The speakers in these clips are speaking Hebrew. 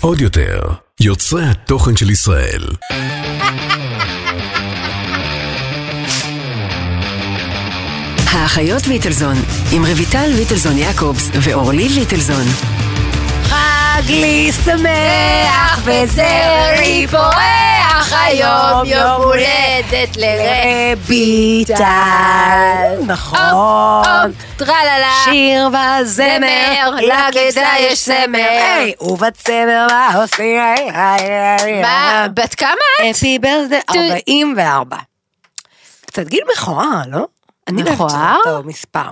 עוד יותר, יוצרי התוכן של ישראל. האחיות ליטלזון, עם רויטל ליטלזון יעקובס ואורלי ליטלזון. חג לי שמח וזרעי פורח היום יום הולדת לרביטל. נכון. טרללה. שיר וזמר, זמר, לגדה יש זמר. היי, ובצמר מה עושים? היי, היי, היי. מה, בת כמה את? אפי ברזדה, 44. קצת גיל מכוער, לא? אני לא אוהבת מכוער? אותו מספר.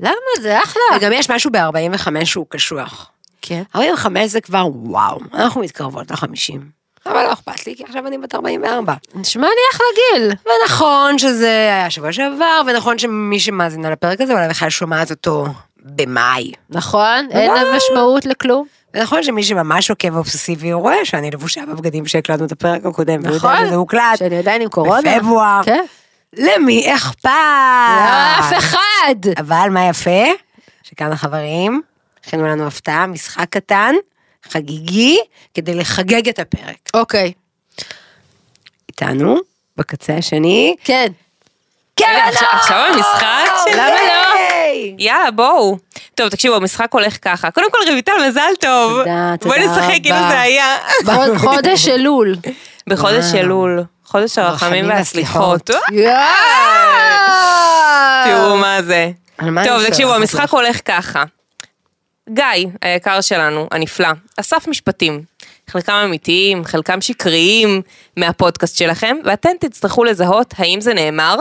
למה? זה אחלה. וגם יש משהו ב-45 שהוא קשוח. כן. 45 זה כבר וואו, אנחנו מתקרבות ל-50. אבל לא אכפת לי, כי עכשיו אני בת 44. נשמע לי אחלה גיל. ונכון שזה היה שבוע שעבר, ונכון שמי שמאזינה לפרק הזה אולי בכלל שומעת אותו במאי. נכון, אין וואו. משמעות לכלום. ונכון שמי שממש עוקב אובססיבי הוא רואה שאני לבושה בבגדים שהקלטנו את הפרק הקודם, והוא יודע נכון. שזה הוקלט שאני עדיין עם קורונה. בפברואר. כן. למי אכפת? לא, אף אחד. אבל מה יפה? שכאן החברים הכינו לנו הפתעה, משחק קטן, חגיגי, כדי לחגג את הפרק. אוקיי. איתנו, בקצה השני, כן. קרן עכשיו- עכשיו המשחק אור! שלי. למה לא? היי! יאללה, בואו. טוב, תקשיבו, המשחק הולך ככה. קודם כל, רויטל, מזל טוב. תודה, תודה בואי נשחק כאילו רבה. זה היה. חוד- חודש אלול. בחודש אלול, חודש הרחמים הרחמים והסליחות. תראו יואו. מה זה. על מה אני טוב, שולחת תקשיבו, לך? המשחק הולך ככה. גיא, היקר שלנו, הנפלא, אסף משפטים. חלקם אמיתיים, חלקם שקריים מהפודקאסט שלכם, ואתם תצטרכו לזהות האם זה נאמר,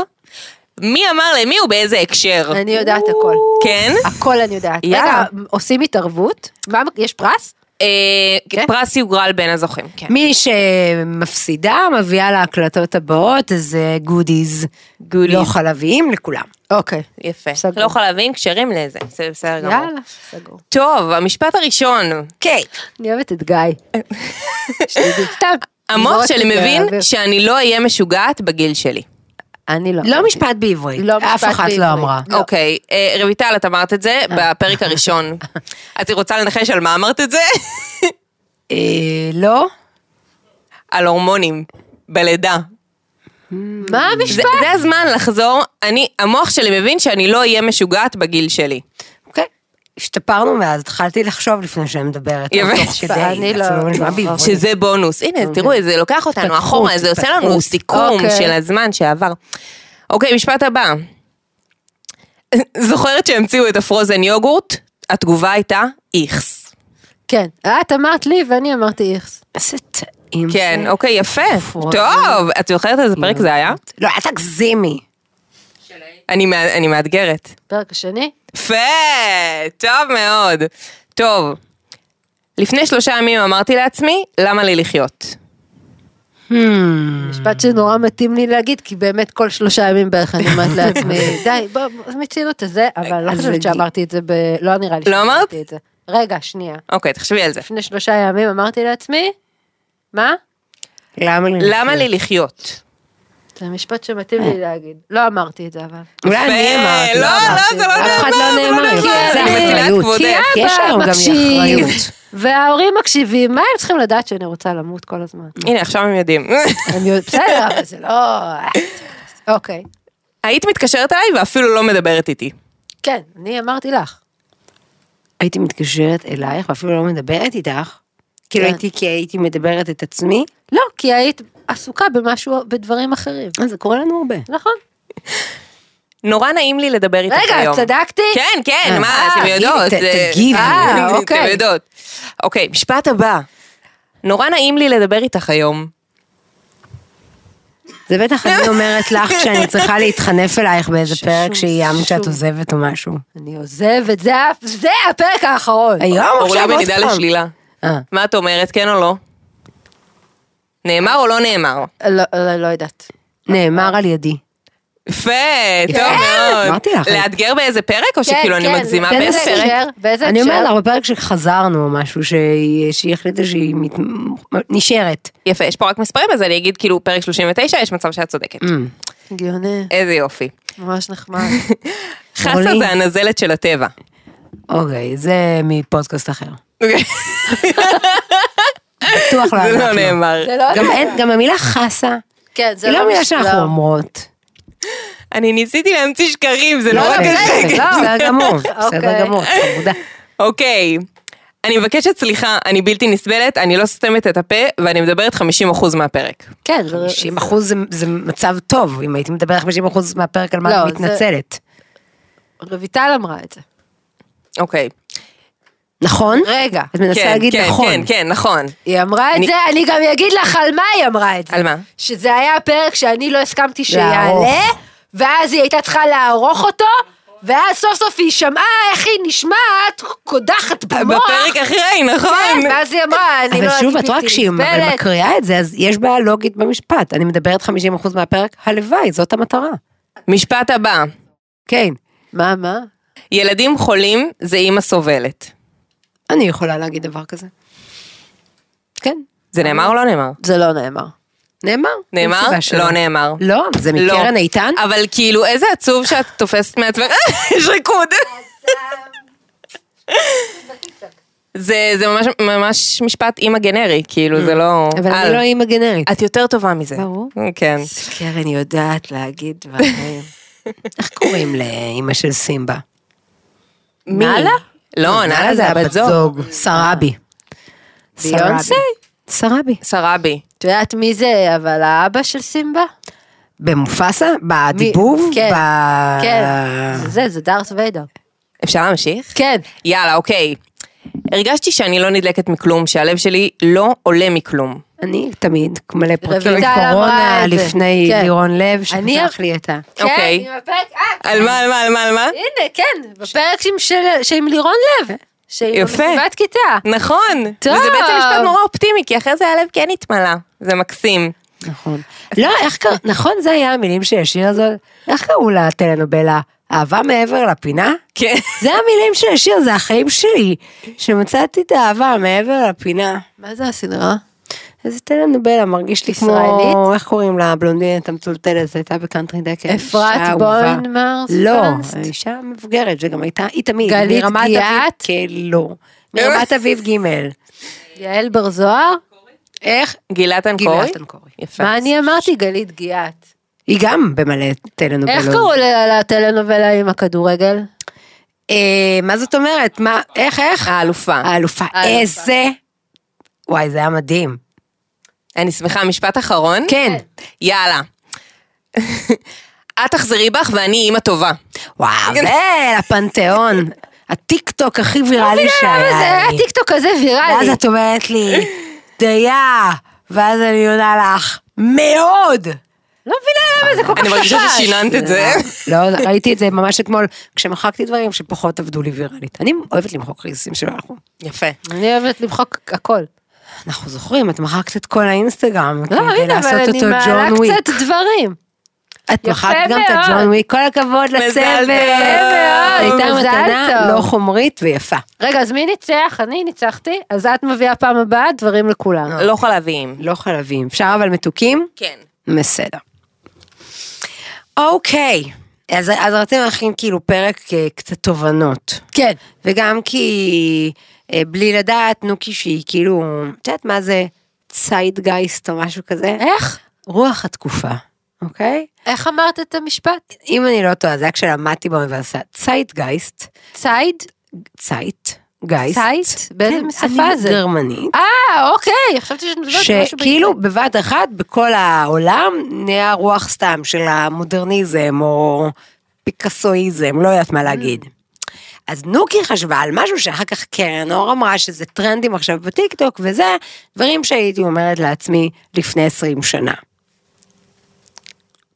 מי אמר למי ובאיזה הקשר. אני יודעת הכל. כן? הכל אני יודעת. רגע, יאללה. עושים התערבות? מה, יש פרס? אה, כן? פרס יוגרל בין הזוכים, כן. מי שמפסידה מביאה להקלטות הבאות אה, איזה גודיז, לא חלביים לכולם. אוקיי. יפה. בסדר. לא חלבים כשרים לזה, זה בסדר גמור. יאללה, סגור. טוב, המשפט הראשון. אוקיי. אני אוהבת את גיא. שתדעי, סתם. המוח לזרוק שלי את זה מבין לאוויר. שאני לא אהיה משוגעת בגיל שלי. אני לא. לא משפט בעברית, לא משפט אף אחת לא בעברית. אמרה. לא. אה. אוקיי, אה, רויטל, את אמרת את זה בפרק הראשון. את רוצה לנחש על מה אמרת את זה? אה, לא? על הורמונים, בלידה. מה זה המשפט? זה הזמן לחזור, אני, המוח שלי מבין שאני לא אהיה משוגעת בגיל שלי. אוקיי. השתפרנו מאז, התחלתי לחשוב לפני שאני מדברת. יפה. תוך כדי, אני לא- אפילו נשמע לא, בעברית. שזה בונוס. הנה, תראו, זה לוקח אותנו אוקיי. התפתחות, אחורה, זה עושה לנו התפתחות. סיכום אוקיי. של הזמן שעבר. אוקיי, משפט הבא. זוכרת שהמציאו את הפרוזן יוגורט? התגובה הייתה איכס. כן. את אמרת לי ואני אמרתי איכס. איזה טעים. כן, זה. אוקיי, יפה. פרוזן. טוב, את זוכרת איזה פרק זה היה? לא, אל תגזימי. אני מה- אני מאתגרת. פרק השני? יפה, טוב מאוד. טוב, לפני שלושה ימים אמרתי לעצמי, למה לי לחיות? Hmm. משפט שנורא מתאים לי להגיד, כי באמת כל שלושה ימים בערך אני אומרת לעצמי, די, בוא, מיצינו את זה, אבל לא אז חושבת זה- שאמרתי את זה ב... לא נראה לי לא אמרת? שאמרתי את זה. רגע, שנייה. אוקיי, תחשבי על זה. לפני שלושה ימים אמרתי לעצמי, מה? למה לי? למה לי לחיות? זה משפט שמתאים אה. לי להגיד. לא אמרתי את זה אבל. אולי אני יפה, אמרתי. לא, לא, זה לא אף אחד נאמר, לא זה לא נאמר. נאמר. זה אני מצילת אחריות. כבודך. כי כי יש אבא לנו גם מקשיב, אחריות. וההורים מקשיבים, מה הם צריכים לדעת שאני רוצה למות כל הזמן? הנה, עכשיו הם יודעים. הם יודעים, בסדר, אבל זה לא... אוקיי. היית מתקשרת אליי ואפילו לא מדברת איתי. כן, אני אמרתי לך. הייתי מתקשרת אלייך ואפילו לא מדברת איתך. כאילו כן. הייתי, כי הייתי מדברת את עצמי. לא, כי היית עסוקה במשהו, בדברים אחרים. אה, זה קורה לנו הרבה. נכון. נורא נעים לי לדבר איתך היום. רגע, צדקתי? כן, כן, אה, מה, אתם תגידי, יודעות. ת- זה- תגיבי. אה, אתם אוקיי. יודעות. אוקיי, משפט הבא. נורא נעים לי לדבר איתך היום. זה בטח אני אומרת לך שאני צריכה להתחנף אלייך באיזה פרק שאיימת שאת עוזבת או משהו. אני עוזבת, זה ה- זה הפרק האחרון. היום אורלי עכשיו עוד בנידה פעם. לשלילה. אה. מה את אומרת, כן או לא? נאמר או לא נאמר? לא, לא, לא יודעת. נאמר על ידי. יפה, טוב מאוד. אמרתי לך. לאתגר באיזה פרק או שכאילו אני מגזימה כן, באיזה באיזה פרק? הקשר? באיזה אני אומרת הקשר? לך בפרק שחזרנו או משהו שהיא שהיא החליטה שהיא מת- נשארת. יפה, יש פה רק מספרים, אז אני אגיד כאילו פרק 39, יש מצב שאת צודקת. Mm. הגיוני, איזה יופי. ממש נחמד. חסה אורלי. זה הנזלת של הטבע. אוקיי, זה מפודקאסט אחר. אוקיי. בטוח לא זה לא אנחנו. נאמר. זה לא- גם אין- גם המילה חסה, כן, זה היא לא לא מילה מש- שאנחנו לא. אומרות. אני ניסיתי להמציא שקרים, זה נורא לא, קשה. בסדר, בסדר גמור, בסדר אוקיי. גמור, חמודה. אוקיי. אני מבקשת סליחה, אני בלתי נסבלת, אני לא סותמת את הפה, ואני מדברת 50% מהפרק. כן, זה- 50 אחוז זה מצב טוב, אם הייתי מדברת 50 אחוז מהפרק על לא, מה את זה- מתנצלת. רויטל אמרה את זה. אוקיי. נכון? רגע, את מנסה כן, להגיד כן, נכון. כן, כן, נכון. היא אמרה את אני- זה, אני גם אגיד לך על מה היא אמרה את זה. על מה? שזה היה הפרק שאני לא הסכמתי שיעלה, לערוך. ואז היא הייתה צריכה לערוך אותו, ואז סוף סוף היא שמעה איך היא נשמעת, קודחת במוח. בפרק אחרי, כן, נכון. ואז היא אמרה, אני לא אבל שוב, את הייתי רואה, כשהיא אבל נסבלת. מקריאה את זה, אז יש בעיה לוגית במשפט. אני מדברת 50 אחוז מהפרק, הלוואי, זאת המטרה. משפט הבא. כן. מה, מה? ילדים חולים זה אימא סובלת. אני יכולה להגיד דבר כזה. כן, זה נאמר או לא נאמר? זה לא נאמר. נאמר. אין נאמר? סיבה שלא. לא נאמר. לא, זה לא. מקרן איתן? אבל כאילו, איזה עצוב שאת תופסת מעצמך, יש ריקוד. זה זה ממש- ממש משפט אימא גנרי, כאילו, זה לא... אבל אני אל. לא אימא גנרית. את יותר טובה מזה. ברור. כן. קרן יודעת להגיד דברים. איך קוראים לאימא של סימבה? מי? נאללה? לא, נאללה זה הבת זוג. סראבי. ביונסה? סראבי. סראבי. את יודעת מי זה, אבל האבא של סימבה? במופסה? מי- בדיבוב? כן, ב... אה. כן. זה זה, זה דארט ויידר. אפשר להמשיך? כן. יאללה, אוקיי. הרגשתי שאני לא נדלקת מכלום, שהלב שלי לא עולה מכלום. אני תמיד מלא פרקים רויטל אמרה קורונה את זה. לפני כן. לירון לב, אני- שפתח לי את ה... אוקיי. כן, עם הפרק, אה, על מה, על מה, על מה, על מה? הנה, כן, בפרק עם של- שעם לירון לב. שהיא יפה. במסיבת כיתה. נכון. טוב. וזה בעצם משפט נורא אופטימי, כי אחרי זה הלב כן התמלא. זה מקסים. נכון. לא, איך קראו, נכון, זה היה המילים של השיר הזאת? איך קראו לטלנובלה? אהבה מעבר לפינה? כן. זה המילים של השיר, זה החיים שלי, שמצאתי את האהבה מעבר לפינה. מה זה הסדרה? איזה טלנובלה, מרגיש לי כמו, ישראלית? איך קוראים לה, הבלונדינת המטולטלת, זה הייתה בקאנטרי דקל. אפרת אישה אהובה. בוינמרס? לא, פרנסט? אישה מבוגרת, שגם הייתה, היא תמיד, גלית מרמת אביב- גיאת? כן, לא, מרמת אביב ג', יעל בר זוהר? איך? גילת אנקורי? גילת אנקורי. יפה. מה אני אמרתי? גלית גיאת. היא גם במלא טלנובלות. איך קראו ל- לטלנובלה עם הכדורגל? אה, מה זאת אומרת? מה, איך, איך? אה, לא האלופה. האלופה. האלופה. איזה... וואי, זה היה מדהים. אני שמחה, משפט אחרון? כן. יאללה. את תחזרי בך ואני אימא טובה. וואו, זה לפנתיאון. הטיק טוק הכי ויראלי זה שהיה היה לי. טיקטוק כזה ואז ויראלי. את אומרת לי, דייה, ואז אני עונה לך, מאוד. לא מבינה למה זה כל כך אני מרגישה חדש. ששיננת את זה. לא, ראיתי את זה ממש אתמול, כשמחקתי דברים שפחות עבדו לי ויראלית. אני אוהבת למחוק ריסים שלא הלכו. יפה. אני אוהבת למחוק הכל. אנחנו זוכרים, את מחקת את כל האינסטגרם, לא, כדי הנה, אבל לעשות אני כן, אותו מעלה ג'ון וויק. קצת דברים. את יפה מחקת גם את מאוד. הג'ון וויק, כל הכבוד מזל לצוות. טוב. הייתה מזל מתנה טוב. לא חומרית ויפה. רגע, אז מי ניצח? אני ניצחתי, אז את מביאה פעם הבאה דברים לכולם. אה. לא חלביים. לא חלבים, אפשר אבל מתוקים? כן. בסדר. אוקיי, אז, אז רצינו להכין כאילו פרק אה, קצת תובנות. כן. וגם כי אה, בלי לדעת, נוקי שהיא כאילו, את יודעת מה זה ציידגייסט או משהו כזה? איך? רוח התקופה, אוקיי? איך אמרת את המשפט? אם אני לא טועה, זה היה כשלמדתי באוניברסיטה, ציידגייסט, צייד? צייט, גייסט. צייט? באיזה כן, שפה אני זה? גרמנית. אה, אוקיי, חשבתי שאת מדברת על משהו שכאילו בבת אחת בכל העולם נהיה רוח סתם של המודרניזם או פיקאסואיזם, לא Mm. יודעת מה להגיד. אז נוקי חשבה על משהו שאחר כך קרן אור אמרה שזה טרנדים עכשיו בטיקטוק וזה דברים שהייתי אומרת לעצמי לפני 20 שנה.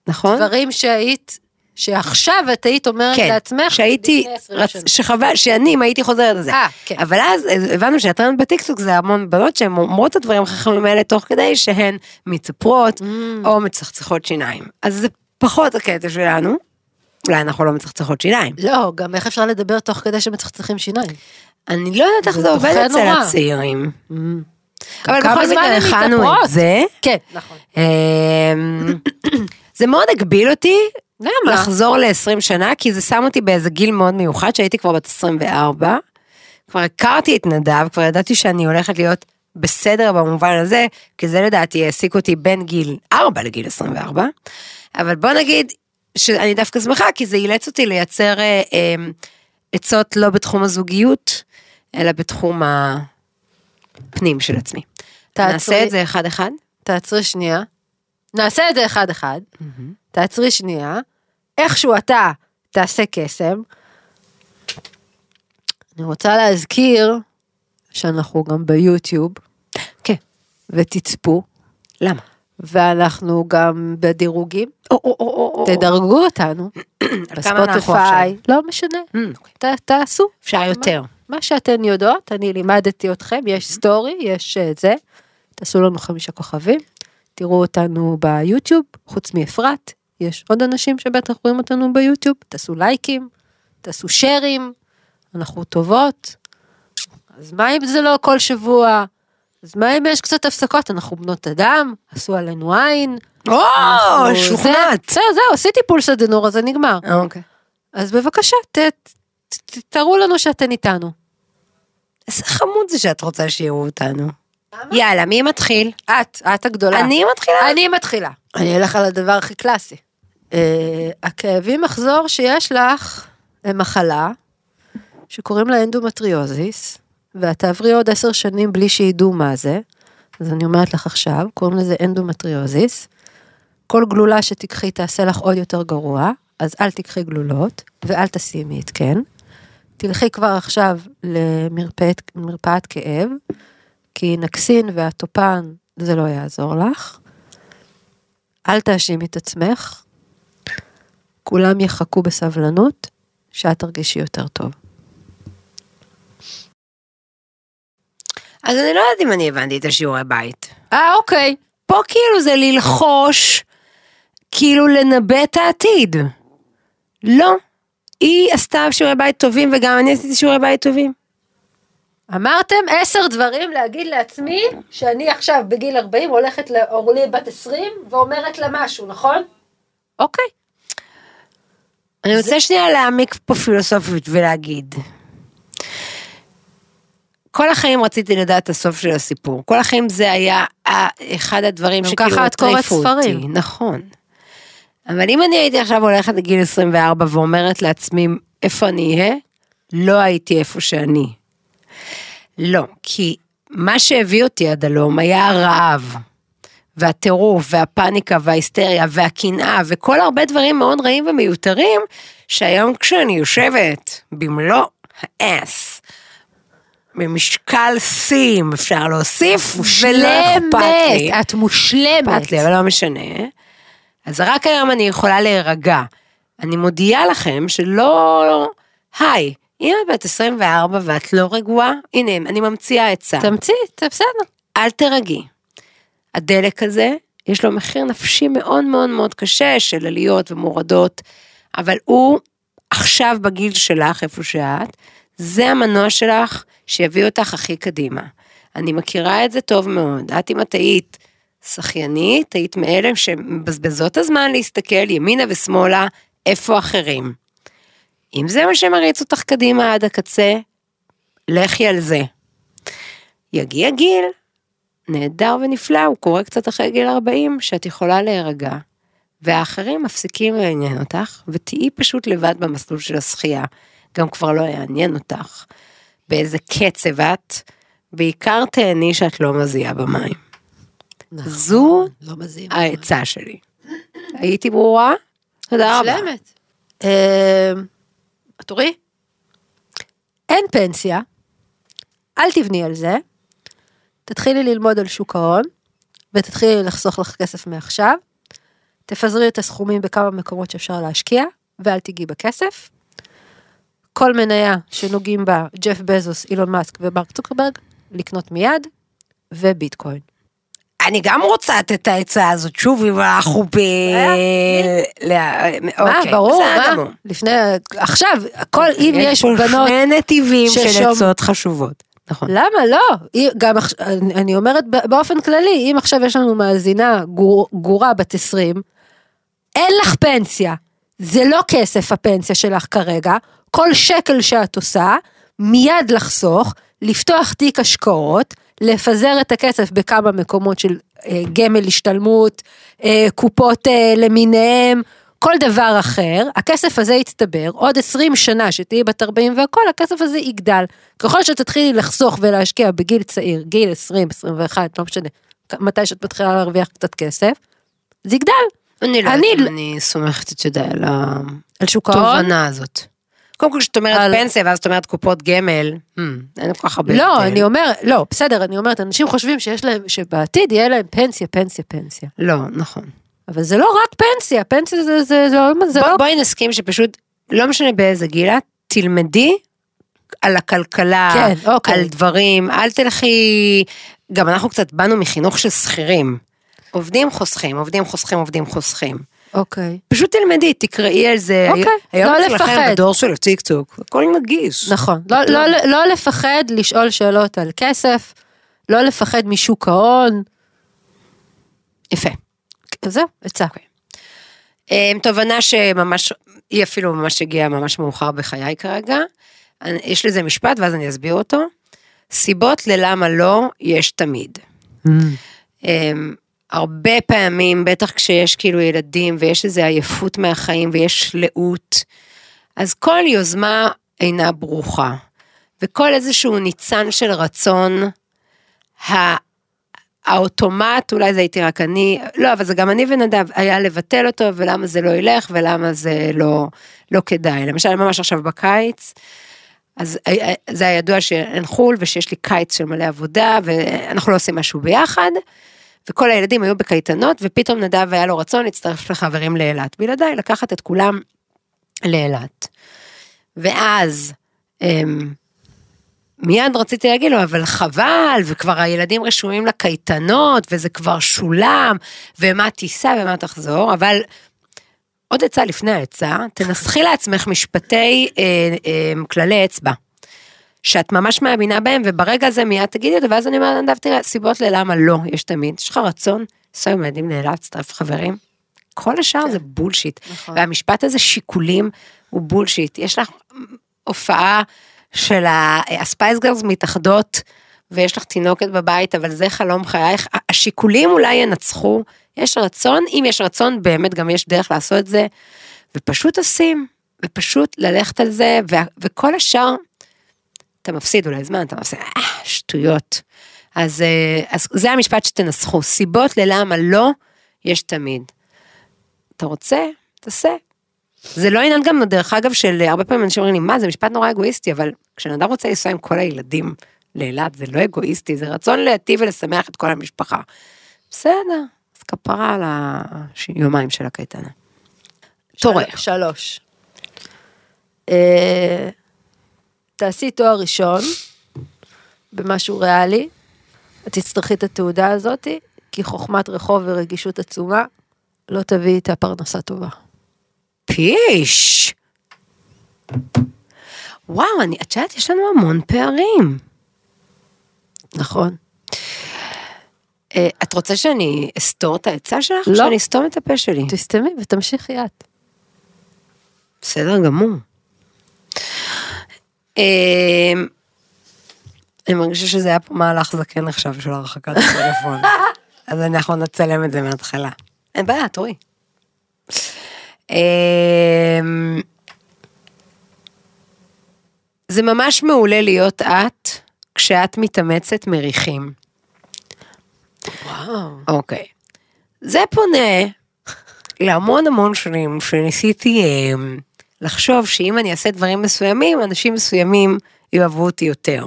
נכון? דברים שהיית, שעכשיו את היית אומרת כן, לעצמך, שהייתי, לפני עשרים רצ... שנה. שחבל, שאני, אם הייתי חוזרת לזה. אה, כן. אבל אז הבנו שהטרנד בטיקטוק זה המון בנות שהן אומרות את הדברים החכמים האלה תוך כדי שהן מצפרות או מצחצחות שיניים. אז זה פחות הקטע שלנו, אולי אנחנו לא מצחצחות שיניים. לא, גם איך אפשר לדבר תוך כדי שמצחצחים שיניים? אני לא יודעת איך זה זה עובד דוחה אצל נורא. הצעירים. גם אבל כמה בכל זמן מקרה הן הכנו מתאפרות? את זה. כן, נכון. אמ, זה מאוד הגביל אותי, למה? לחזור ל-20 שנה, כי זה שם אותי באיזה גיל מאוד מיוחד, שהייתי כבר בת 24. כבר הכרתי את נדב, כבר ידעתי שאני הולכת להיות בסדר במובן הזה, כי זה לדעתי העסיק אותי בין גיל 4 לגיל 24. אבל בוא נגיד שאני דווקא שמחה, כי זה אילץ אותי לייצר אה, אה, עצות לא בתחום הזוגיות, אלא בתחום הפנים של עצמי. תעצרי. נעשה את זה אחד-אחד. תעצרי שנייה. נעשה את זה אחד-אחד. תעצרי שנייה. איכשהו אתה תעשה קסם. אני רוצה להזכיר שאנחנו גם ביוטיוב. כן. ותצפו. למה? ואנחנו גם בדירוגים. או, או, או, או, או. תדרגו אותנו. כמה אנחנו בספוטיפיי. לא משנה. Mm, אוקיי. ת- תעשו. אפשר יותר. מה שאתן יודעות, אני לימדתי אתכם, יש Mm-hmm. סטורי, יש אה, זה, תעשו לנו חמישה כוכבים, תראו אותנו ביוטיוב, חוץ מאפרת, יש עוד אנשים שבטח רואים אותנו ביוטיוב, תעשו לייקים, תעשו שרים, אנחנו טובות, אז מה אם זה לא כל שבוע? אז מה אם יש קצת הפסקות? אנחנו בנות אדם, עשו עלינו עין. או, אה, אנחנו- שוכנעת. לא, זה- זהו, זהו, עשיתי פולס אדנור, אז זה נגמר. אוקיי. אז בבקשה, ת, ת, ת, תראו לנו שאתן איתנו. איזה חמוד זה שאת רוצה שיראו אותנו. יאללה, מי מתחיל? את, את הגדולה. אני מתחילה? אני מתחילה. אני אלך על הדבר הכי קלאסי. אה, הכאבים מחזור שיש לך הם מחלה שקוראים לה אנדומטריוזיס, ואת תעברי עוד עשר שנים בלי שידעו מה זה, אז אני אומרת לך עכשיו, קוראים לזה אנדומטריוזיס. כל גלולה שתיקחי תעשה לך עוד יותר גרוע, אז אל תיקחי גלולות ואל תשימי התקן. תלכי כבר עכשיו למרפאת מרפאת כאב, כי נקסין והטופן זה לא יעזור לך. אל תאשימי את עצמך. כולם יחכו בסבלנות, שאת תרגישי יותר טוב. אז אני לא יודעת אם אני הבנתי את השיעורי בית. אה, אוקיי. פה כאילו זה ללחוש, כאילו לנבא את העתיד. לא. היא עשתה שיעורי בית טובים וגם אני עשיתי שיעורי בית טובים. אמרתם עשר דברים להגיד לעצמי שאני עכשיו בגיל 40 הולכת לאורלי בת 20 ואומרת לה משהו, נכון? אוקיי. אני רוצה שנייה להעמיק פה פילוסופית ולהגיד. כל החיים רציתי לדעת את הסוף של הסיפור. כל החיים זה היה ה- אחד הדברים גם שכאילו ככה את קוראת הטריפו ספרים. אותי. נכון. אבל אם אני הייתי עכשיו הולכת לגיל 24 ואומרת לעצמי איפה אני אהיה, לא הייתי איפה שאני. לא, כי מה שהביא אותי עד הלום היה הרעב, והטירוף, והפאניקה, וההיסטריה, והקנאה, וכל הרבה דברים מאוד רעים ומיותרים, שהיום כשאני יושבת במלוא האס, במשקל שיא, אם אפשר להוסיף, ולא אכפת לי. את מושלמת. אכפת לי, אבל לא משנה. אז רק היום אני יכולה להירגע. אני מודיעה לכם שלא... היי, אם את בת 24 ואת לא רגועה, הנה, אני ממציאה עצה. תמציא, זה בסדר. אל תרגי. הדלק הזה, יש לו מחיר נפשי מאוד מאוד מאוד קשה של עליות ומורדות, אבל הוא עכשיו בגיל שלך, איפה שאת, זה המנוע שלך שיביא אותך הכי קדימה. אני מכירה את זה טוב מאוד. את אם את היית שחיינית, היית מאלה שמבזבזות הזמן להסתכל ימינה ושמאלה, איפה אחרים. אם זה מה שמריץ אותך קדימה עד הקצה, לכי על זה. יגיע גיל נהדר ונפלא, הוא קורה קצת אחרי גיל 40, שאת יכולה להירגע. והאחרים מפסיקים לעניין אותך, ותהיי פשוט לבד במסלול של השחייה. גם כבר לא יעניין אותך. באיזה קצב את, בעיקר תהני שאת לא מזיעה במים. זו לא מזיעים. העצה שלי. הייתי ברורה? תודה רבה. מושלמת. אה, את תורי? אין פנסיה, אל תבני על זה, תתחילי ללמוד על שוק ההון, ותתחילי לחסוך לך כסף מעכשיו, תפזרי את הסכומים בכמה מקומות שאפשר להשקיע, ואל תיגעי בכסף. כל מניה שנוגעים בה ג'ף בזוס, אילון מאסק ומרק צוקרברג, לקנות מיד, וביטקוין. אני גם רוצה לתת את העצה הזאת שוב, אם אנחנו ב... ל- מה, אוקיי, אה, ברור, בסדר מה? גמור. אוקיי, לפני, עכשיו, הכל, אם יש פה בנות שני נתיבים של ששום- עצות חשובות. נכון. למה לא? היא- גם עכש- אני- אני אומרת ב- באופן כללי, אם עכשיו יש לנו מאזינה גור- גורה בת 20, אין לך פנסיה. זה לא כסף הפנסיה שלך כרגע, כל שקל שאת עושה, מיד לחסוך, לפתוח תיק השקעות, לפזר את הכסף בכמה מקומות של אה, גמל השתלמות, אה, קופות אה, למיניהם, כל דבר אחר, הכסף הזה יצטבר, עוד 20 שנה שתהיי בת 40 והכל, הכסף הזה יגדל. ככל שתתחילי לחסוך ולהשקיע בגיל צעיר, גיל 20, 21, לא משנה, מתי שאת מתחילה להרוויח קצת כסף, זה יגדל. אני לא אני יודעת אם לא- אני סומכת, אתה יודע, על על שוק ההון? התובנה הזאת. קודם כל, כשאת על- אומרת פנסיה, ואז את אומרת קופות גמל, hmm, אין כל כך הרבה. לא, הבדל. אני אומרת, לא, בסדר, אני אומרת, אנשים חושבים שיש להם, שבעתיד יהיה להם פנסיה, פנסיה, פנסיה. לא, נכון. אבל זה לא רק פנסיה, פנסיה זה, זה, זה, לא- זה בוא- לא... בואי נסכים שפשוט, לא משנה באיזה גיל את, תלמדי על הכלכלה, כן, אוקיי. על דברים, אל תלכי... גם אנחנו קצת באנו מחינוך של שכירים. עובדים חוסכים, עובדים חוסכים, עובדים חוסכים. אוקיי. פשוט תלמדי, תקראי על זה. אוקיי, היום לא אצלכם לפחד. בדור של הטיקטוק, הכל נגיש. נכון, לא, לא, לא, לא לפחד לשאול שאלות על כסף, לא לפחד משוק ההון, יפה. זהו, עצה. אוקיי. אמ, תובנה שממש, היא אפילו ממש הגיעה ממש מאוחר בחיי כרגע. אני- יש לזה משפט ואז אני אסביר אותו. סיבות ללמה לא, יש תמיד. Mm. אמ, הרבה פעמים, בטח כשיש כאילו ילדים ויש איזו עייפות מהחיים ויש שלאות, אז כל יוזמה אינה ברוכה. וכל איזשהו ניצן של רצון, ה- האוטומט, אולי זה הייתי רק אני, לא, אבל זה גם אני ונדב, היה לבטל אותו, ולמה זה לא ילך, ולמה זה לא, לא כדאי. למשל, ממש עכשיו בקיץ, אז אה, אה, זה היה ידוע שאין חו"ל, ושיש לי קיץ של מלא עבודה, ואנחנו לא עושים משהו ביחד, וכל הילדים היו בקייטנות, ופתאום נדב היה לו רצון להצטרף לחברים לאילת. בלעדיי, לקחת את כולם לאילת. ואז, אמ, מיד רציתי להגיד לו, אבל חבל, וכבר הילדים רשומים לקייטנות, וזה כבר שולם, ומה תיסע ומה תחזור, אבל עוד עצה לפני העצה, תנסחי לעצמך משפטי אה, אה, כללי אצבע, שאת ממש מאמינה בהם, וברגע הזה מיד תגידי אותו, ואז אני אומרת, נדב, תראה, סיבות ללמה לא, יש תמיד, יש לך רצון, לנסוע עם ילדים לאילת, להצטרף חברים. כל השאר זה בולשיט, והמשפט הזה שיקולים הוא בולשיט. יש לך הופעה של ה- הספייס גרס מתאחדות, ויש לך תינוקת בבית, אבל זה חלום חייך. ה- השיקולים אולי ינצחו, יש רצון, אם יש רצון, באמת גם יש דרך לעשות את זה, ופשוט עושים, ופשוט ללכת על זה, וה- וכל השאר, אתה מפסיד אולי זמן, אתה מפסיד, אה, שטויות. אז, אה, אז זה המשפט שתנסחו, סיבות ללמה לא, יש תמיד. אתה רוצה, תעשה. זה לא עניין גם, דרך אגב, של אה, הרבה פעמים אנשים אומרים לי, מה, זה משפט נורא אגואיסטי, אבל כשאדם רוצה לנסוע עם כל הילדים לאילת, זה לא אגואיסטי, זה רצון להיטיב ולשמח את כל המשפחה. בסדר, אז כפרה על היומיים של הקייטנה. של- תורך. שלוש. אה, תעשי תואר ראשון במשהו ריאלי, את תצטרכי את התעודה הזאת, כי חוכמת רחוב ורגישות עצומה לא תביא איתה פרנסה טובה. פיש! וואו, אני, את יודעת, יש לנו המון פערים. נכון. אה, את רוצה שאני אסתור את העצה שלך? לא. או שאני אסתום את הפה שלי. תסתמי ותמשיכי את. בסדר גמור. אה, אני מרגישה שזה היה פה מהלך זקן עכשיו של הרחקת הטלפון. אז אנחנו נצלם את זה מההתחלה. אין בעיה, תורי. אה, זה ממש מעולה להיות את כשאת מתאמצת מריחים. וואו. אוקיי. זה פונה להמון המון שנים שניסיתי אה, לחשוב שאם אני אעשה דברים מסוימים, אנשים מסוימים יאהבו אותי יותר.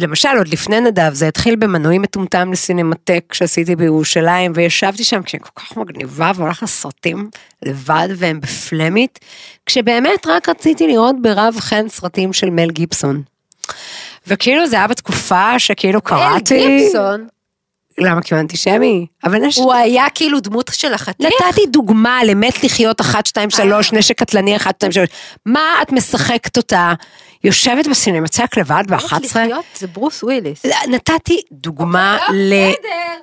למשל, עוד לפני נדב, זה התחיל במנוי מטומטם לסינמטק שעשיתי בירושלים, וישבתי שם כשהיא כל כך מגניבה, והולך לסרטים לבד והם בפלמית, כשבאמת רק רציתי לראות ברב חן סרטים של מל גיבסון. וכאילו זה היה בתקופה שכאילו קראתי... אל גיבסון, למה כי הוא אנטישמי? אבל יש... הוא היה כאילו דמות של החתיך. נתתי דוגמה למת לחיות 1, 2, 3, נשק קטלני 1, 2, 3. מה את משחקת אותה? יושבת בסינמצק לבד ב-11? לחיות לא זה ברוס אה. וויליס. נתתי דוגמה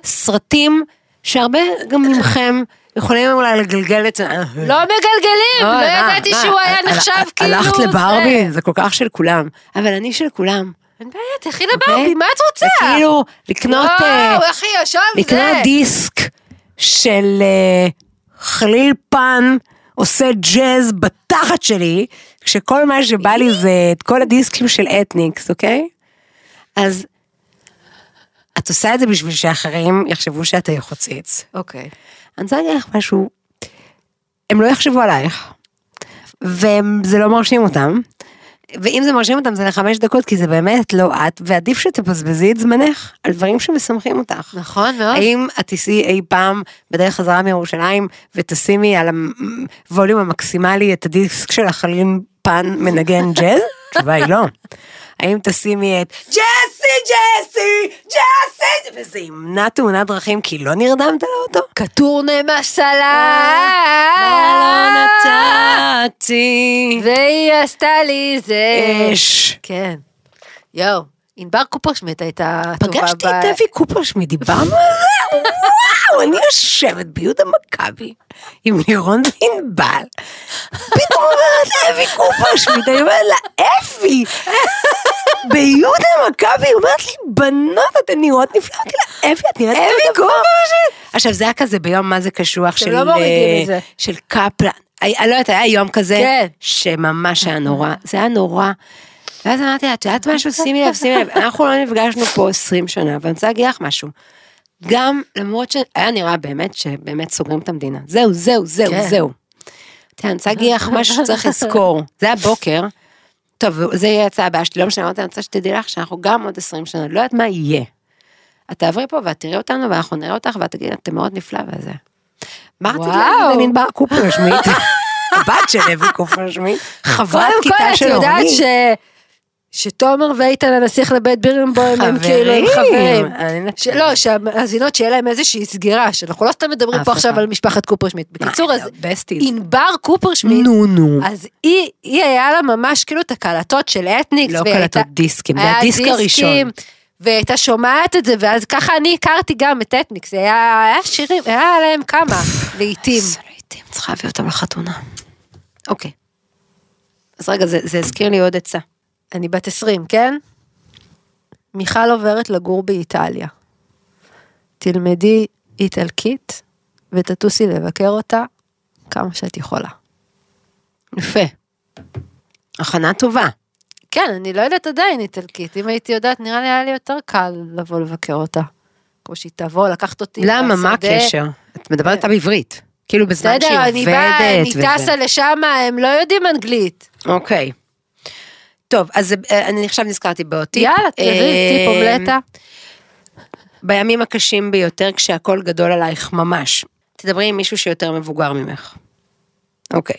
לסרטים שהרבה גם ממכם יכולים אולי לגלגל את זה. אה, לא מגלגלים, לא ידעתי שהוא היה נחשב כאילו... הלכת זה. לברבי, זה כל כך של כולם. אבל אני של כולם. אוקיי? אין בעיה, תלכי לברבי, מה את רוצה? לא, זה כאילו לקנות... אה, וואו, אחי, ישב לקנות זה. דיסק של אה, חליל פן עושה ג'אז בתחת שלי, כשכל מה שבא לי זה את כל הדיסקים של אתניקס, אוקיי? אז את עושה את זה בשביל שאחרים יחשבו שאתה יחוציץ. אוקיי. אני רוצה להגיד לך משהו, הם לא יחשבו עלייך, וזה לא מרשים אותם, ואם זה מרשים אותם זה לחמש דקות, כי זה באמת לא את, ועדיף שתבזבזי את זמנך על דברים שמשמחים אותך. נכון מאוד. האם את תיסעי אי פעם בדרך חזרה מירושלים ותשימי על הווליום המקסימלי את הדיסק של החלין פן מנגן ג'אז? התשובה היא לא. האם תשימי את ג'סי, ג'סי, ג'סי, וזה ימנע תאונת דרכים כי לא נרדמת לאוטו? קטורנה לא לא אה! מסלה, נתתי והיא עשתה לי זה. אש. כן. יואו, ענבר קופרשמיט הייתה טובה פגשתי את אבי קופוש מדיברנו על זה, וואו, אני יושבת ביהודה מכבי עם לירון וענבל. פתאום אומרת אבי קופוש, אני אומרת לה, אפי, ביהודה מכבי, היא אומרת לי, בנות, אתן נראות נפלא, אמרתי לה, אפי, את נראית אבי קופוש. עכשיו, זה היה כזה ביום מה זה קשוח של... אה, לא מורידים את זה. של קפלן. היה- אני לא יודעת, היה יום כזה, כן. שממש היה נורא, זה היה נורא. ואז אמרתי לה, את יודעת משהו? שימי לב, שימי לב, אנחנו לא נפגשנו פה 20 שנה, ואני רוצה להגיד לך משהו. גם למרות שהיה נראה באמת שבאמת סוגרים את המדינה. זהו, זהו, זהו, כן. זהו. תראה, אני רוצה להגיד לך משהו שצריך לזכור. זה היה בוקר, טוב, זה יהיה הצעה הבאה שלי, לא משנה, אמרתי, אני רוצה שתדעי לך שאנחנו גם עוד 20 שנה, לא יודעת מה יהיה. את תעברי פה ואת תראי אותנו ואנחנו נראה אותך ואת תגידי, אתם מאוד נפלא וזה. מה רצית וואו. להגיד לנדבר קופר שמית? הבת של אבי קופר שמית, חברת קודם כל, כיתה את של יודעת אורנית. ש... שתומר ואיתן הנסיך לבית בירנבוים הם כאילו הם חברים. אה, אני נתתי. שלא, שהמאזינות שיהיה להם איזושהי סגירה, שאנחנו לא סתם מדברים אף פה עכשיו אחד. על משפחת קופרשמיט. לא, בקיצור, אז בסטיז. ענבר קופרשמיט, נו נו. אז היא, היא היה לה ממש כאילו את הקלטות של אתניקס. לא והיא הייתה- קלטות דיסקים, זה היה הדיסק הראשון. והיא הייתה שומעת את זה, ואז ככה אני הכרתי גם את אתניקס, היה, היה שירים, היה להם כמה, לעיתים. זה לא התאים, צריכה להביא אותם לחתונה. אוקיי. אז רגע, זה זה הזכיר לי עוד עצה. אני בת 20, כן? מיכל עוברת לגור באיטליה. תלמדי איטלקית ותטוסי לבקר אותה כמה שאת יכולה. יפה. הכנה טובה. כן, אני לא יודעת עדיין איטלקית. אם הייתי יודעת, נראה לי היה לי יותר קל לבוא לבקר אותה. כמו שהיא תבוא, לקחת אותי למה, מה לשדה. הקשר? את מדברת איתה בעברית. כאילו בזמן שהיא בסדר, עובדת אני באה, אני וזה. טסה לשם, הם לא יודעים אנגלית. אוקיי. טוב, אז אה, אני עכשיו נזכרתי בעוד טיפ. יאללה, תראי, אה, טיפ אומלטה. בימים הקשים ביותר, כשהכול גדול עלייך ממש, תדברי עם מישהו שיותר מבוגר ממך. אוקיי.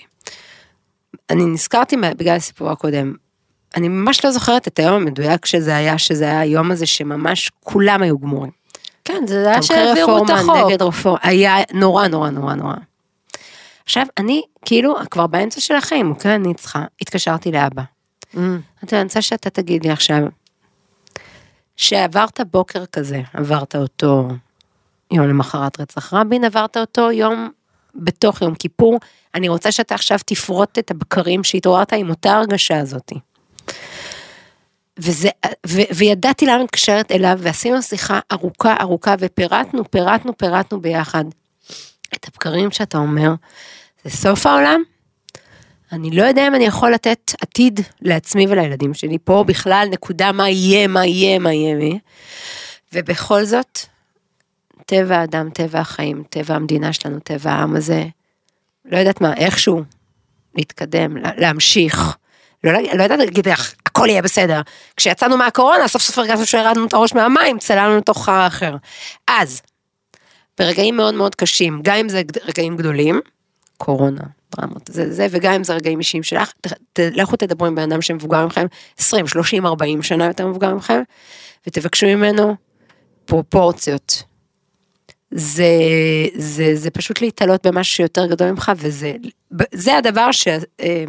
אני נזכרתי מה- בגלל הסיפור הקודם. אני ממש לא זוכרת את היום המדויק שזה היה, שזה היה היום הזה שממש כולם היו גמורים. כן, זה היה תומכי שהעבירו את רפורמה, החוק. נגד רפורמה, היה נורא נורא נורא נורא. עכשיו, אני כאילו כבר באמצע של החיים, אוקיי? אני צריכה, התקשרתי לאבא. Mm. אמרתי לו, אני רוצה שאתה תגיד לי עכשיו, שעברת בוקר כזה, עברת אותו יום למחרת רצח רבין, עברת אותו יום בתוך יום כיפור, אני רוצה שאתה עכשיו תפרוט את הבקרים שהתעוררת עם אותה הרגשה הזאתי. וזה, ו, וידעתי למה מתקשרת אליו, ועשינו שיחה ארוכה ארוכה, ופירטנו, פירטנו, פירטנו ביחד. את הבקרים שאתה אומר, זה סוף העולם? אני לא יודע אם אני יכול לתת עתיד לעצמי ולילדים שלי פה בכלל, נקודה מה יהיה, מה יהיה, מה יהיה, מה יהיה. ובכל זאת, טבע האדם, טבע החיים, טבע המדינה שלנו, טבע העם הזה, לא יודעת מה, איכשהו, להתקדם, לה- להמשיך. לא, להגיד- לא יודעת להגיד לך, הכל יהיה בסדר. כשיצאנו מהקורונה, סוף סוף הרגשנו שהרדנו את הראש מהמים, צללנו לתוך הר אחר. אז, ברגעים מאוד מאוד קשים, גם אם זה גד- רגעים גדולים, קורונה, דרמות, זה זה, וגם אם זה רגעים אישיים שלך, ת- ת- לכו תדברו עם בן אדם שמבוגר ממכם, 20, 30, 40 שנה יותר מבוגר ממכם, ותבקשו ממנו פרופורציות. זה, זה, זה פשוט להתעלות במשהו שיותר גדול ממך, וזה ב- זה הדבר ש... אה,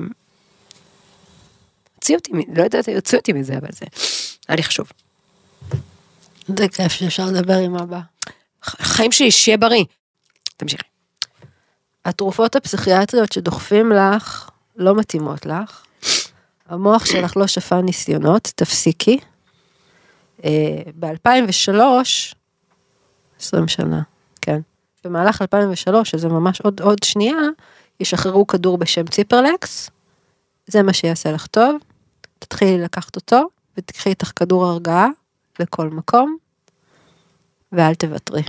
הוציאו אותי, מ- לא יודעת, הוציאו אותי מזה, אבל זה היה לי חשוב. זה כיף שאפשר לדבר עם אבא. ח- חיים שלי, שיהיה בריא. תמשיכי. התרופות הפסיכיאטריות שדוחפים לך לא מתאימות לך. המוח שלך לא שפע ניסיונות, תפסיקי. אה, ב-2003, 20 שנה, כן. במהלך 2003, שזה ממש עוד, עוד שנייה, ישחררו כדור בשם ציפרלקס, זה מה שיעשה לך טוב, תתחילי לקחת אותו, ותקחי איתך כדור הרגעה לכל מקום, ואל תוותרי.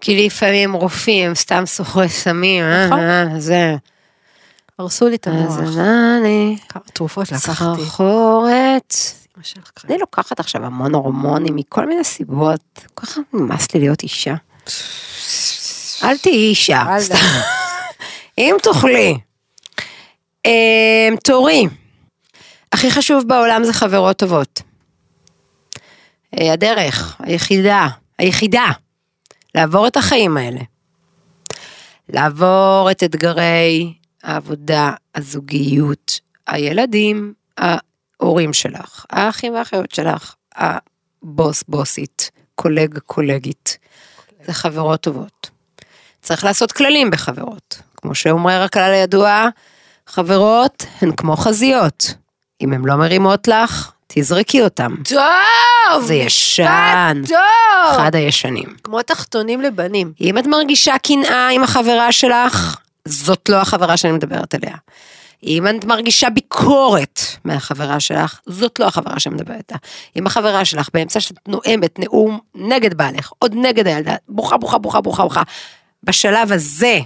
כי לפעמים רופאים, סתם סוחרי סמים, אה, נכון. אה, זה. הרסו לי את המוח. אז ענה לי, כמה תרופות לקחתי. סחרחורת. אמא שלך קרה. אני לוקחת עכשיו המון הורמונים מכל מיני סיבות, כל כך נמאס לי להיות אישה. אל תהיי אישה, אל סתם. אם תוכלי. אמ, תורי, הכי חשוב בעולם זה חברות טובות. אה, הדרך, היחידה, היחידה, לעבור את החיים האלה. לעבור את אתגרי העבודה, הזוגיות, הילדים, ההורים שלך, האחים והאחיות שלך, הבוס בוסית, קולג קולגית. זה חברות טובות. צריך לעשות כללים בחברות. כמו שאומר הכלל הידוע, חברות הן כמו חזיות. אם הן לא מרימות לך, תזרקי אותן. טוב! אה, זה ישן, טוב! אחד הישנים. כמו תחתונים לבנים. אם את מרגישה קנאה עם החברה שלך, זאת לא החברה שאני מדברת עליה. אם את מרגישה ביקורת מהחברה שלך, זאת לא החברה שאני מדברת איתה. אם החברה שלך באמצע שאת נואמת נאום נגד בעלך, עוד נגד הילדה, בוכה, בוכה, בוכה, בוכה, בוכה, בשלב הזה,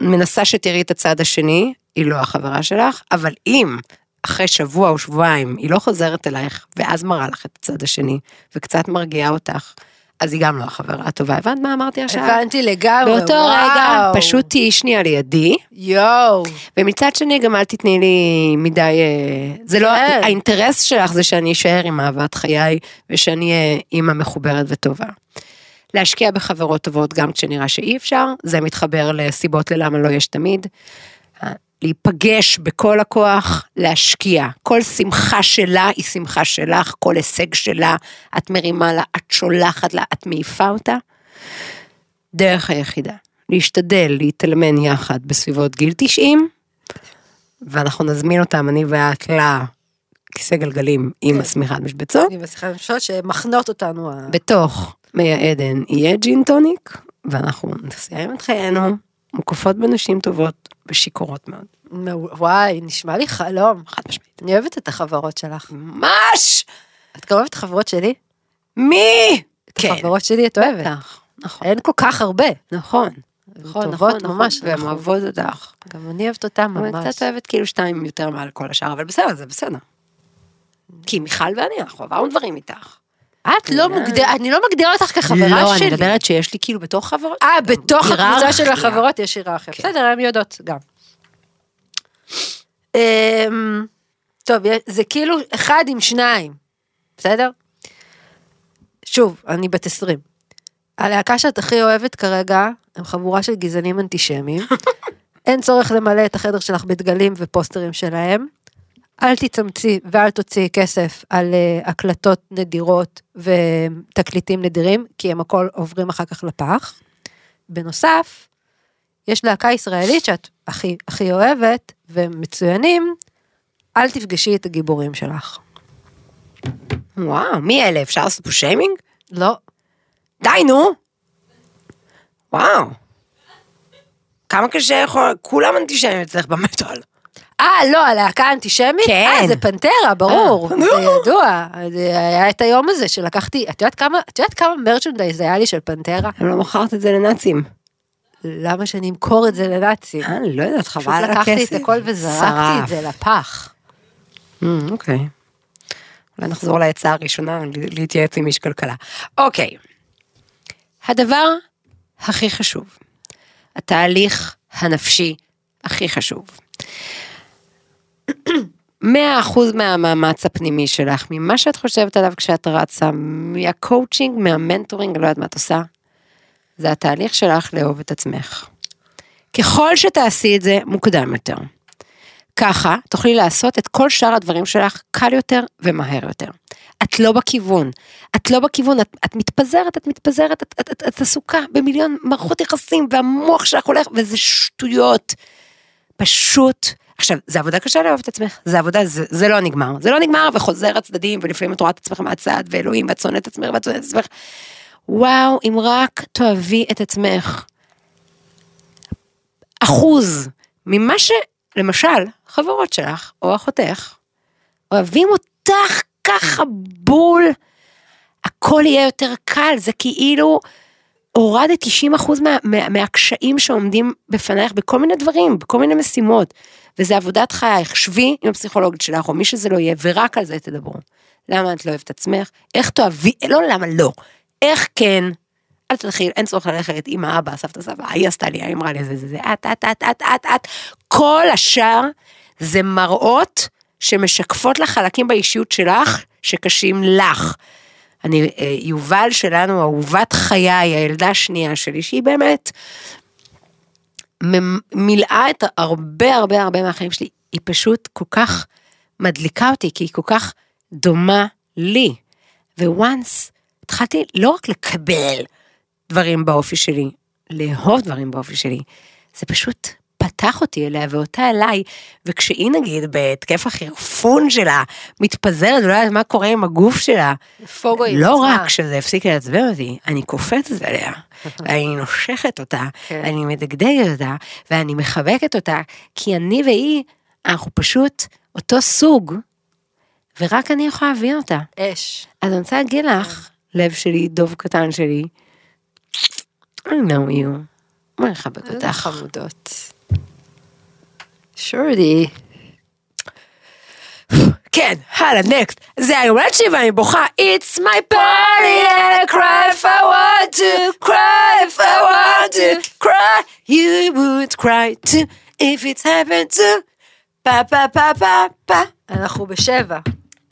מנסה שתראי את הצד השני, היא לא החברה שלך, אבל אם אחרי שבוע או שבועיים היא לא חוזרת אלייך, ואז מראה לך את הצד השני, וקצת מרגיעה אותך, אז היא גם לא החברה הטובה. הבנת מה אמרתי עכשיו? הבנתי לגמרי, באותו וואו. רגע, פשוט תהיי שנייה לידי, יואו. ומצד שני גם אל תתני לי מדי, אה, זה לא, כן. האינטרס שלך זה שאני אשאר עם אהבת חיי, ושאני אהיה אימא מחוברת וטובה. להשקיע בחברות טובות גם כשנראה שאי אפשר, זה מתחבר לסיבות ללמה לא יש תמיד. אה, להיפגש בכל הכוח, להשקיע. כל שמחה שלה היא שמחה שלך, כל הישג שלה, את מרימה לה, את שולחת לה, את מעיפה אותה. דרך היחידה, להשתדל להתאלמן יחד בסביבות גיל 90, ואנחנו נזמין אותם, אני ואת, לכיסא גלגלים עם השמיכת משבצות. אני מצליחה למשול שמחנות אותנו. ה- בתוך מי העדן יהיה ג'ין טוניק, ואנחנו נסיים את חיינו, מוקפות בנשים טובות ושיכורות מאוד. מעו- וואי, נשמע לי חלום. חד משמעית. אני אוהבת את החברות שלך. ממש! את גם אוהבת חברות שלי? מי? כן. חברות שלי את אוהבת. בטח, נכון. אין כל כך הרבה. נכון. נכון, נכון, טובות נכון, ממש, והן נכון. אוהבות אותך. גם אני אוהבת אותה אבל ממש. אני קצת אוהבת כאילו שתיים יותר מעל כל השאר, אבל בסדר, זה בסדר. כי מיכל ואני, אנחנו עברנו דברים איתך. את לא מוגדרת, אני לא מגדירה אותך כחברה לא, שלי. אני מדברת שיש לי כאילו בתוך חברות. אה, גם בתוך הקבוצה של היררכיה. החברות יש היררכיה. כן. בסדר, הן יודעות גם. אמ, טוב, יש- זה כאילו אחד עם שניים, בסדר? שוב, אני בת 20. הלהקה שאת הכי אוהבת כרגע, הם חבורה של גזענים אנטישמיים. אין צורך למלא את החדר שלך בדגלים ופוסטרים שלהם. אל תתאמצי ואל תוציאי כסף על אה, הקלטות נדירות ותקליטים נדירים, כי הם הכל עוברים אחר כך לפח. בנוסף, יש להקה ישראלית שאת הכי הכי אוהבת, והם מצוינים, אל תפגשי את הגיבורים שלך. וואו, מי אלה? אפשר לעשות פה שיימינג? לא. די, נו. וואו. כמה קשה יכול... כולם אנטישמים אצלך במטאל. אה, לא, הלהקה האנטישמית? כן. אה, זה פנטרה, ברור. אה, זה נו. ידוע. זה היה את היום הזה שלקחתי, את יודעת כמה, את יודעת כמה מרצ'נדייז היה לי של פנטרה? הם לא מכרת את זה לנאצים. למה שאני אמכור את זה לנאצים? אה, אני לא יודעת, חבל פשוט על הכסף. לקחתי את הכל וזרקתי שרף. את זה לפח. אמ, אוקיי. אולי נחזור לעצה הראשונה, ל- להתייעץ עם איש כלכלה. אוקיי. הדבר הכי חשוב, התהליך הנפשי הכי חשוב. 100% מהמאמץ הפנימי שלך, ממה שאת חושבת עליו כשאת רצה, מהקואוצ'ינג, מהמנטורינג, לא יודעת מה את עושה, זה התהליך שלך לאהוב את עצמך. ככל שתעשי את זה מוקדם יותר, ככה תוכלי לעשות את כל שאר הדברים שלך קל יותר ומהר יותר. את לא בכיוון, את לא בכיוון, את, את מתפזרת, את מתפזרת, את, את, את, את עסוקה במיליון מערכות יחסים והמוח שלך הולך וזה שטויות. פשוט, עכשיו, זה עבודה קשה לאהוב את עצמך, זה עבודה, זה, זה לא נגמר, זה לא נגמר וחוזר הצדדים ולפעמים את רואה את עצמך מהצד ואלוהים ואת שונאת את עצמך ואת שונאת את עצמך. וואו, אם רק תאהבי את עצמך. אחוז ממה שלמשל חברות שלך או אחותך אוהבים אותך ככה בול, הכל יהיה יותר קל, זה כאילו הורדת 90% מה, מה, מהקשיים שעומדים בפנייך בכל מיני דברים, בכל מיני משימות, וזה עבודת חייך, שבי עם הפסיכולוגית שלך או מי שזה לא יהיה, ורק על זה תדברו. למה את לא אוהבת את עצמך? איך תאהבי, לא למה לא, איך כן? אל תלכי, אין צורך ללכת, אמא, אבא, סבתא, סבא, היא עשתה לי, היא אמרה לי, זה, זה, זה, את, את, את, את, את, את. כל השאר זה מראות שמשקפות לך חלקים באישיות שלך שקשים לך. אני, אה, יובל שלנו, אהובת חיי, הילדה השנייה שלי, שהיא באמת ממ- מילאה את הרבה הרבה הרבה מהחיים שלי, היא פשוט כל כך מדליקה אותי, כי היא כל כך דומה לי. וואנס התחלתי לא רק לקבל דברים באופי שלי, לאהוב דברים באופי שלי, זה פשוט פתח אותי אליה ואותה אליי, וכשהיא נגיד בהתקף החירפון שלה, מתפזרת ולא יודעת מה קורה עם הגוף שלה, פוגו עם לא עצמה. רק שזה הפסיק לעצבן אותי, אני קופצת עליה, ואני נושכת אותה, כן. ואני מדגדגת אותה, ואני מחבקת אותה, כי אני והיא, אנחנו פשוט אותו סוג, ורק אני יכולה להבין אותה. אש. אז אני רוצה להגיד לך, לב שלי, דוב קטן שלי, I know you, בואי נחבק איזה אותך. חמודות. שורדי. כן, הלאה, נקסט. זה היומלד שלי ואני בוכה, It's my party and I cry if I want to, cry if I want to, cry, you would cry too, if it happened to, פה פה פה פה פה. אנחנו בשבע.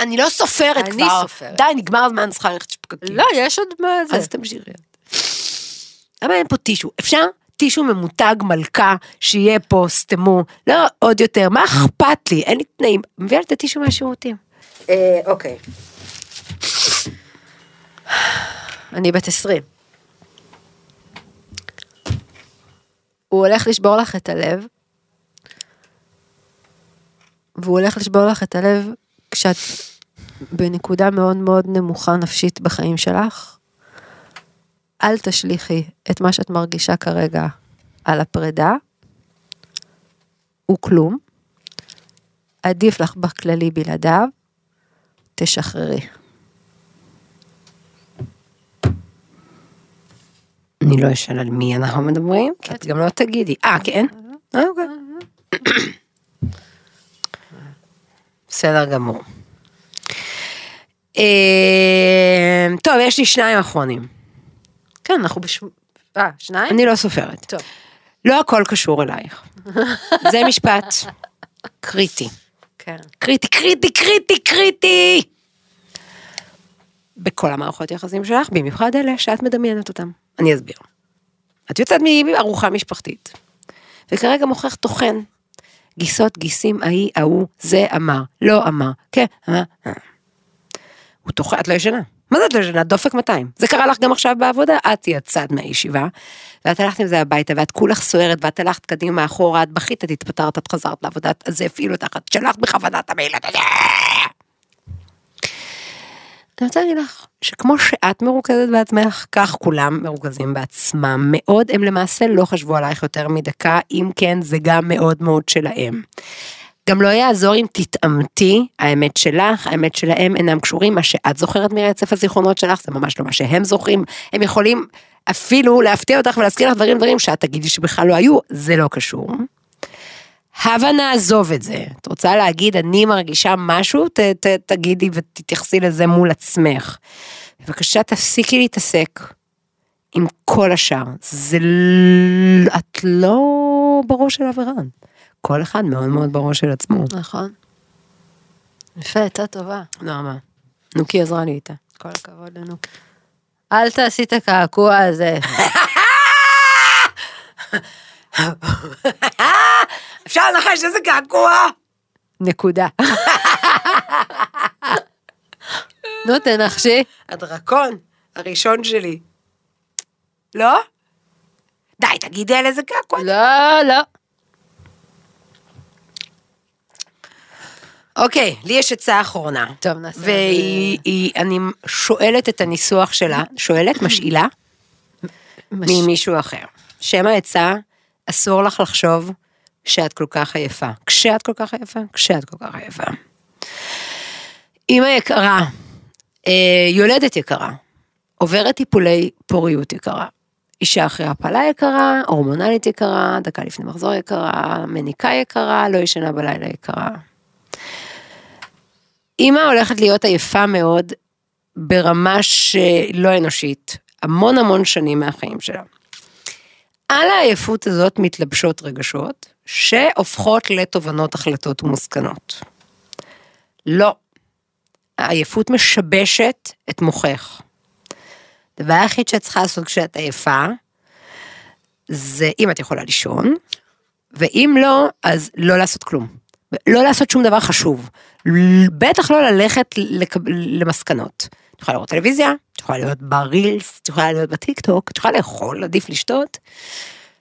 אני לא סופרת אני כבר. סופרת. די, נגמר הזמן, אני צריכה ללכת שפקקים. לא, יש עוד מה זה. אז תמשיכי. למה אין פה טישו? אפשר? טישו ממותג מלכה, שיהיה פה, סתמו, לא עוד יותר, מה אכפת לי? אין לי תנאים. מביאה לי את הטישו מהשירותים. אה, אוקיי. אני בת 20. הוא הולך לשבור לך את הלב, והוא הולך לשבור לך את הלב כשאת בנקודה מאוד מאוד נמוכה נפשית בחיים שלך. אל תשליכי את מה שאת מרגישה כרגע על הפרידה, הוא כלום. עדיף לך בכללי בלעדיו, תשחררי. אני לא אשאל על מי אנחנו מדברים, כי את גם לא תגידי. אה, כן? אה, אוקיי. בסדר גמור. אה, טוב, יש לי שניים אחרונים. כן, אנחנו בש... אה, שניים? אני לא סופרת. טוב. לא הכל קשור אלייך. זה משפט קריטי. כן. קריטי, קריטי, קריטי, קריטי! בכל המערכות יחסים שלך, במיוחד אלה שאת מדמיינת אותם. אני אסביר. את יוצאת מארוחה משפחתית, וכרגע מוכרח טוחן. גיסות, גיסים, ההיא, ההוא, זה אמר, לא אמר, כן, אמר, אה. הוא טוחן, את לא ישנה. מה זה את לא ישנה? דופק 200. זה קרה לך גם עכשיו בעבודה, את יצאת מהישיבה, ואת הלכת עם זה הביתה, ואת כולך סוערת, ואת הלכת קדימה, אחורה, את בכית, את התפטרת, את חזרת לעבודה, אז זה הפעיל אותך, את שלחת בכוונה את המעיל הזה. אני רוצה להגיד לך, שכמו שאת מרוכזת בעצמך, כך כולם מרוכזים בעצמם מאוד, הם למעשה לא חשבו עלייך יותר מדקה, אם כן זה גם מאוד מאוד שלהם. גם לא יעזור אם תתעמתי, האמת שלך, האמת שלהם אינם קשורים, מה שאת זוכרת מרצף הזיכרונות שלך זה ממש לא מה שהם זוכרים, הם יכולים אפילו להפתיע אותך ולהזכיר לך דברים דברים שאת תגידי שבכלל לא היו, זה לא קשור. הבה נעזוב את זה. את רוצה להגיד, אני מרגישה משהו, ת, ת, תגידי ותתייחסי לזה מול עצמך. בבקשה, תפסיקי להתעסק עם כל השאר. זה... ל- את לא בראש של אברהם. כל אחד מאוד מאוד בראש של עצמו. נכון. יפה, עצה טובה. נעמה. נוקי עזרה לי איתה. כל הכבוד לנו. אל תעשי את הקעקוע הזה. אפשר לנחש איזה געגוע? נקודה. נו, תנחשי. הדרקון הראשון שלי. לא? די, תגידי על איזה קעקוע. לא, לא. אוקיי, לי יש עצה אחרונה. טוב, נעשה את זה. והיא, היא- אני שואלת את הניסוח שלה, שואלת, משאילה, ממישהו אחר. שם העצה, אסור לך לחשוב שאת כל כך עייפה. כשאת כל כך עייפה, כשאת כל כך עייפה. אמא יקרה, אה, יולדת יקרה, עוברת טיפולי פוריות יקרה. אישה אחרי הפלה יקרה, הורמונלית יקרה, דקה לפני מחזור יקרה, מניקה יקרה, לא ישנה בלילה יקרה. אימא הולכת להיות עייפה מאוד, ברמה שלא אנושית, המון המון שנים מהחיים שלה. על העייפות הזאת מתלבשות רגשות, שהופכות לתובנות, החלטות ומוסכנות. לא. העייפות משבשת את מוחך. הדבר היחיד שאת צריכה לעשות כשאת עייפה, זה אם את יכולה לישון, ואם לא, אז לא לעשות כלום. לא לעשות שום דבר חשוב. ל- בטח לא ללכת לקב... למסקנות. את יכולה לראות טלוויזיה, את יכולה להיות ברילס, את יכולה להיות בטיק טוק, את יכולה לאכול, עדיף לשתות.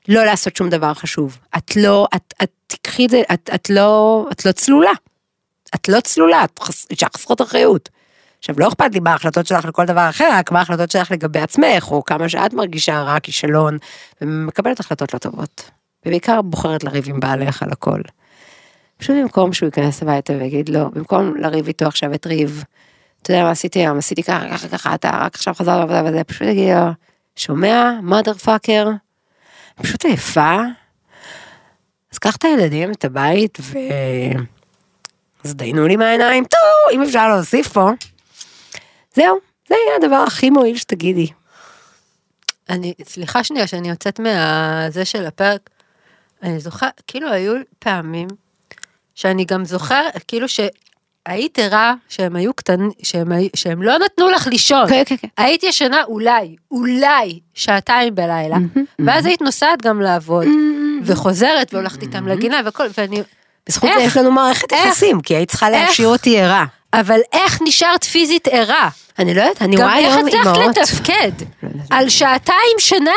לא לעשות שום דבר חשוב. את לא, את, את תקחי את זה, את, את, לא, את לא צלולה. את לא צלולה, את חס... אישה חסרת אחריות. עכשיו, לא אכפת לי מה ההחלטות שלך לכל דבר אחר, רק מה ההחלטות שלך לגבי עצמך, או כמה שאת מרגישה רע, כישלון, ומקבלת החלטות לא טובות. ובעיקר בוחרת לריב עם בעלך על הכל. פשוט במקום שהוא ייכנס הביתה ויגיד לא, במקום לריב איתו עכשיו את ריב, אתה יודע מה עשיתי היום, עשיתי ככה, ככה, ככה, אתה רק עכשיו חזר לעבודה וזה, פשוט יגיד לו, שומע, mother fucker, פשוט עייפה. אז קח את הילדים, את הבית, ו... אז דיינו לי מהעיניים, טו, אם אפשר להוסיף פה. זהו, זה יהיה הדבר הכי מועיל שתגידי. אני, סליחה שנייה שאני יוצאת מהזה של הפרק, אני זוכרת, כאילו היו פעמים שאני גם זוכרת, כאילו שהיית ערה שהם היו קטנים, שהם, היו- שהם לא נתנו לך לישון. כן, כן, כן. היית ישנה אולי, אולי, שעתיים בלילה, ואז היית נוסעת גם לעבוד, וחוזרת והולכת איתם לגינה וכל, ואני... בזכות זה איך? יש לנו מערכת איך? יחסים, כי היית צריכה איך? להשאיר אותי ערה. אבל איך נשארת פיזית ערה? אני לא יודעת, אני גם רואה איך היום הצלחת אימהות. לא, לתפקד? על שעתיים שינה.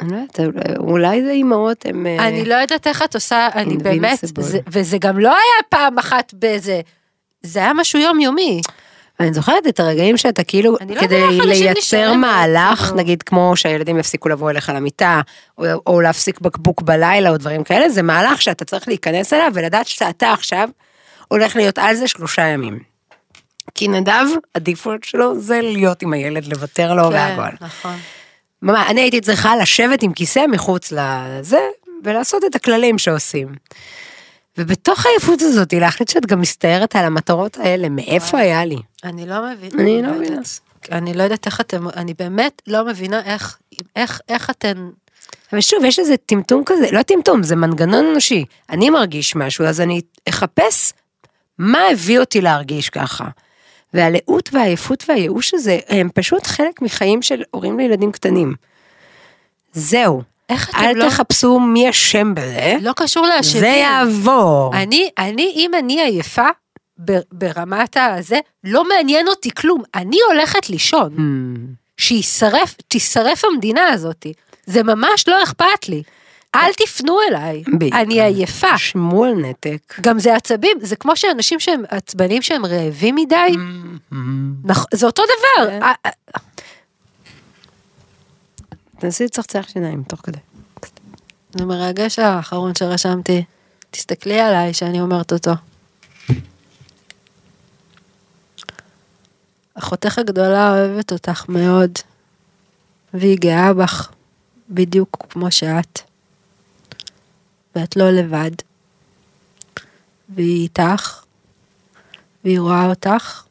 אני לא יודעת, אולי זה אימהות הם... אה, אני לא יודעת איך את עושה, אני באמת, Invincible. זה- וזה גם לא היה פעם אחת באיזה, זה היה משהו יומיומי. אני זוכרת את הרגעים שאתה כאילו, אני לא כדי יודעת איך אנשים לייצר נשארים מהלך, כאילו. נגיד כמו שהילדים יפסיקו לבוא אליך למיטה, או- או להפסיק בקבוק בלילה או דברים כאלה, זה מהלך שאתה צריך להיכנס אליו ולדעת שאתה עכשיו הולך להיות על זה שלושה ימים. כי נדב, הדיפולט שלו זה להיות עם הילד, לוותר לו והכל. נכון. ממש, אני הייתי צריכה לשבת עם כיסא מחוץ לזה, ולעשות את הכללים שעושים. ובתוך העייפות הזאת, להחליט שאת גם מסתערת על המטרות האלה, מאיפה היה לי? אני לא מבינה. אני לא מבינה. יודעת. אני לא יודעת איך אתם, אני באמת לא מבינה איך, איך, איך אתן, אבל שוב, יש איזה טמטום כזה, לא טמטום, זה מנגנון אנושי. אני מרגיש משהו, אז אני אחפש מה הביא אותי להרגיש ככה. והלאות והעייפות והייאוש הזה, הם פשוט חלק מחיים של הורים לילדים קטנים. זהו. איך אתם אל לא, תחפשו מי אשם בזה, לא קשור לאשמים. זה יעבור. אני, אני, אם אני עייפה ב- ברמת הזה, לא מעניין אותי כלום, אני הולכת לישון. Hmm. שיישרף, תישרף המדינה הזאת. זה ממש לא אכפת לי. אל תפנו אליי, בדיוק. אני עייפה. שמרו על נתק. גם זה עצבים, זה כמו שאנשים שהם עצבנים שהם רעבים מדי, Hmm. נכ- זה אותו דבר. כן. אה, אה, תנסי לצחצח שיניים תוך כדי. זה מרגש האחרון שרשמתי. תסתכלי עליי שאני אומרת אותו. אחותך הגדולה אוהבת אותך מאוד, והיא גאה בך, בדיוק כמו שאת. ואת לא לבד. והיא איתך, והיא רואה אותך,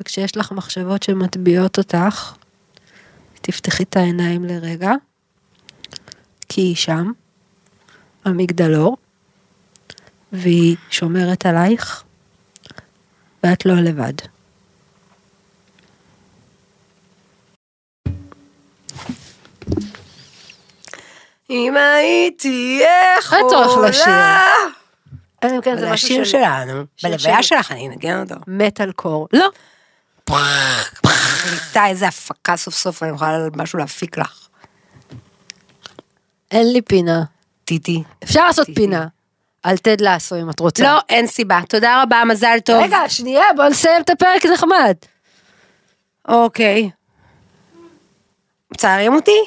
וכשיש לך מחשבות שמטביעות אותך, תפתחי את העיניים לרגע, כי היא שם, המגדלור, והיא שומרת עלייך, ואת לא לבד. אם הייתי יכולה... אין צורך לשיר. אלא אם כן זה זה משהו השיר של שלנו. שיר בלוויה שלי. שלך אני אנגן אותו. מטאל קור. לא, איתה איזה הפקה סוף סוף אני יכולה משהו להפיק לך. אין לי פינה. טיטי. אפשר לעשות פינה. על תד לאסו אם את רוצה. לא, אין סיבה. תודה רבה, מזל טוב. רגע, שנייה, בוא נסיים את הפרק נחמד. אוקיי. מצערים אותי?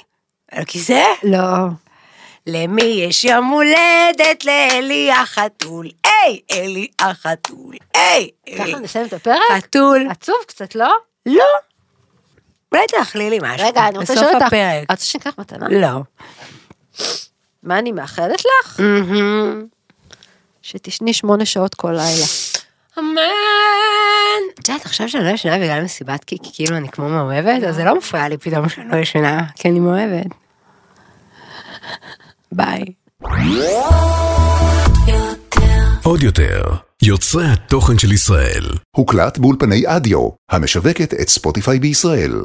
על הכיסא? לא. למי יש יום הולדת? לאלי החתול. היי, אלי החתול. היי, אלי. ככה נסיים את הפרק? חתול. עצוב קצת, לא? לא. אולי תאכלי לי משהו. רגע, אני רוצה בסוף לשאול אותך. הפרק. את רוצה שניקח מתנה? לא. מה אני מאחלת לך? מהמם. שתשני שמונה שעות כל לילה. אמן. את יודעת, עכשיו שאני לא ישנה בגלל מסיבת כי כי כאילו אני כמו מאוהבת, אז זה לא מפריע לי פתאום שאני לא ישנה, כי אני מאוהבת. ביי. עוד יותר, יוצרי התוכן של ישראל. הוקלט באולפני אדיו, המשווקת את ספוטיפיי בישראל.